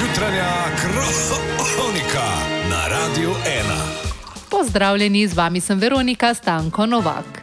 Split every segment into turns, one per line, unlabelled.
jutranja kronika na Radiu 1.
Pozdravljeni, z vami sem Veronika Stanko Novak.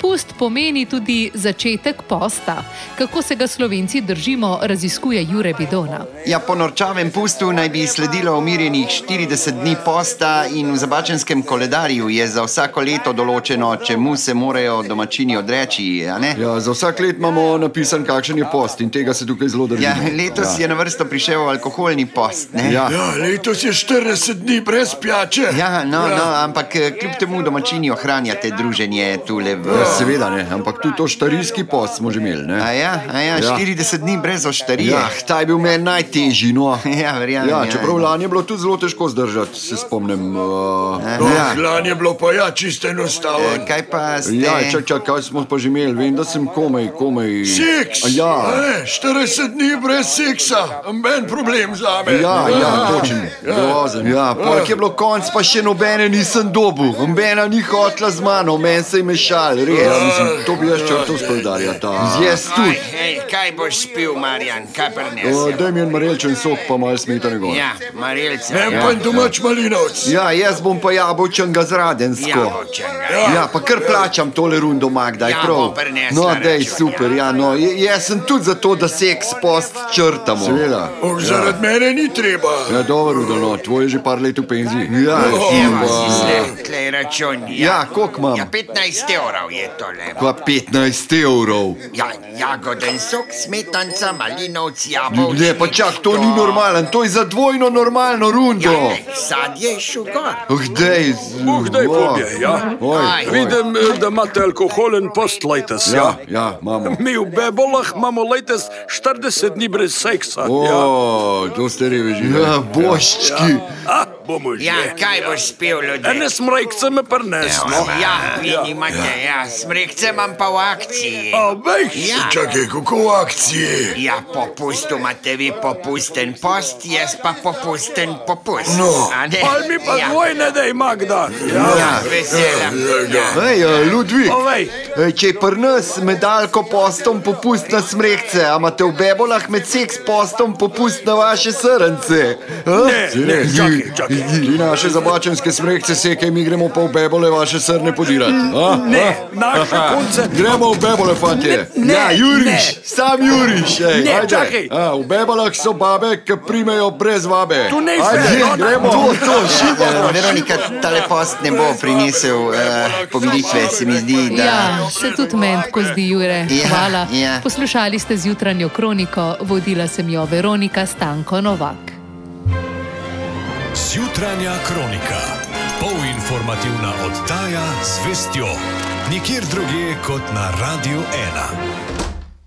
Pust pomeni tudi začetek posta. Kako se ga slovenci držimo, raziskuje Jure Bidona.
Ja, po norčavem pustu naj bi sledilo umirjenih 40 dni posta in v zabačenskem koledarju je za vsako leto določeno, čemu se morajo domačini odreči. a ne?
Ja, za vsak let imamo napisan, kakšen je post in tega se tukaj zelo držimo.
Ja, letos je na vrsto prišel alkoholni post. Ne?
Ja.
Ja, letos je 40 dni brez pijače.
Ja, no, no, ampak eh, kljub temu domačini ohranjate druženje tule v.
Ja, seveda ne, ampak tudi to štarijski post smo že imeli. Ne?
A ja, a ja,
Ja.
40 dni brez oštarije.
Ja, ta je bil meni najtežji. No.
Ja, verjamem,
Ja,
ja.
čeprav lani je bilo tudi zelo težko zdržati, se spomnim. Uh,
ja.
Ja. Lani je bilo pa ja čisto enostavno.
Eh, Kaj pa ste?
ja, čak, čak, kaj smo pa že imeli, vem, da sem komaj, komaj.
Seks,
A Ja,
ne, 40 dni brez seksa, ben problem za me.
ja, ja točen,
Ja.
grozen. Ja, polk je bilo konc, pa še nobene nisem dobil, nobena ni hotla z mano, meni se je mešal, res. Ja, mislim, to bi jaz črtal s poldarja. Jaz tudi.
Hej, kaj boš spil, Marjan, kaj
O,
prinesi?
Daj mi en marelčen sok, pa malo smetane gor.
Ja, marelce.
Ne, pa domač malinovc.
ja, jaz bom pa jabolčnega z Radensko.
jabolčenega.
Ja, pa kar plačam tole rundo, Magdaj,
Ja,
prav.
bom prinesla,
No, dej,
rečeva.
super, ja, no, j- jaz sem tudi za to, da seks post črtamo. Seveda.
Oh, zaradi mene ni treba.
Ja, dobro, udano, tvoj je že par let v penziji. Ja,
Evo si zle, tlej račun.
Ja, koliko imam?
Ja, 15 evrov je tole.
Pa 15 evrov.
Ja, jagoden sok, smetanca, malinovc, jabolčnik.
Ne, pa čak, to ni normalen, to je za dvojno normalno
Ja,
rundo.
ne, sadje je šugor.
Oh, dej, z-
Oh, daj
o.
pobje, ja.
Oj,
Aj.
oj.
Vidim, eh, da imate alkoholen post lajtes,
Ja,
ja.
ja, imamo.
Mi v Bebolah imamo lajtes 40 dni brez seksa. Ja.
O, to ste reveži. Ja, boščki.
A, bomo že.
Ja, kaj boš spil,
Ene
ljudje?
smrajkce me prnesno.
Ja, vi nimate, ja, smrekce imam pa v akciji.
A, veš,
Ja.
Čakaj, kako v akciji?
Ja, popustu imate vi popusten post, jaz pa popusten popust.
No,
A ne?
ali mi pa
ja.
dvojne dej, Magda. Ja.
Ja, vesela. Ja.
Hej, Ludvik.
Povej,
Ej, Če je pri nas medalko postom popust na smrekce, a imate v bebolah med seks postom popust na vaše srnce?
Ne, ne, čakaj, čakaj.
Ti naše zabačenske smrekce seke, mi gremo pa v bebole vaše srne podirati. a?
ne,
Ja.
A?
naše punce.
Gremo v bebole, fantje.
Ne,
ja,
ne,
Juriš,
ne.
sam Juriš. Ej,
Ne,
ajde.
čakaj.
A, v bebalah so babe, ki primejo brez vabe.
Tu ne no, izveš,
Ajde,
ona-
gremo.
To,
to, šiba.
Eh, Veronika, tale post ne bo prinesel eh, pomiritve, se mi zdi. Da...
Ja, se tudi meni tako zdi, Jure.
Ja,
Hvala.
ja.
Poslušali ste z jutranjo kroniko, vodila sem jo Veronika Stanko Novak.
Zjutranja kronika. Polinformativna oddaja z vestjo. Nikjer drugje kot na Radiu 1.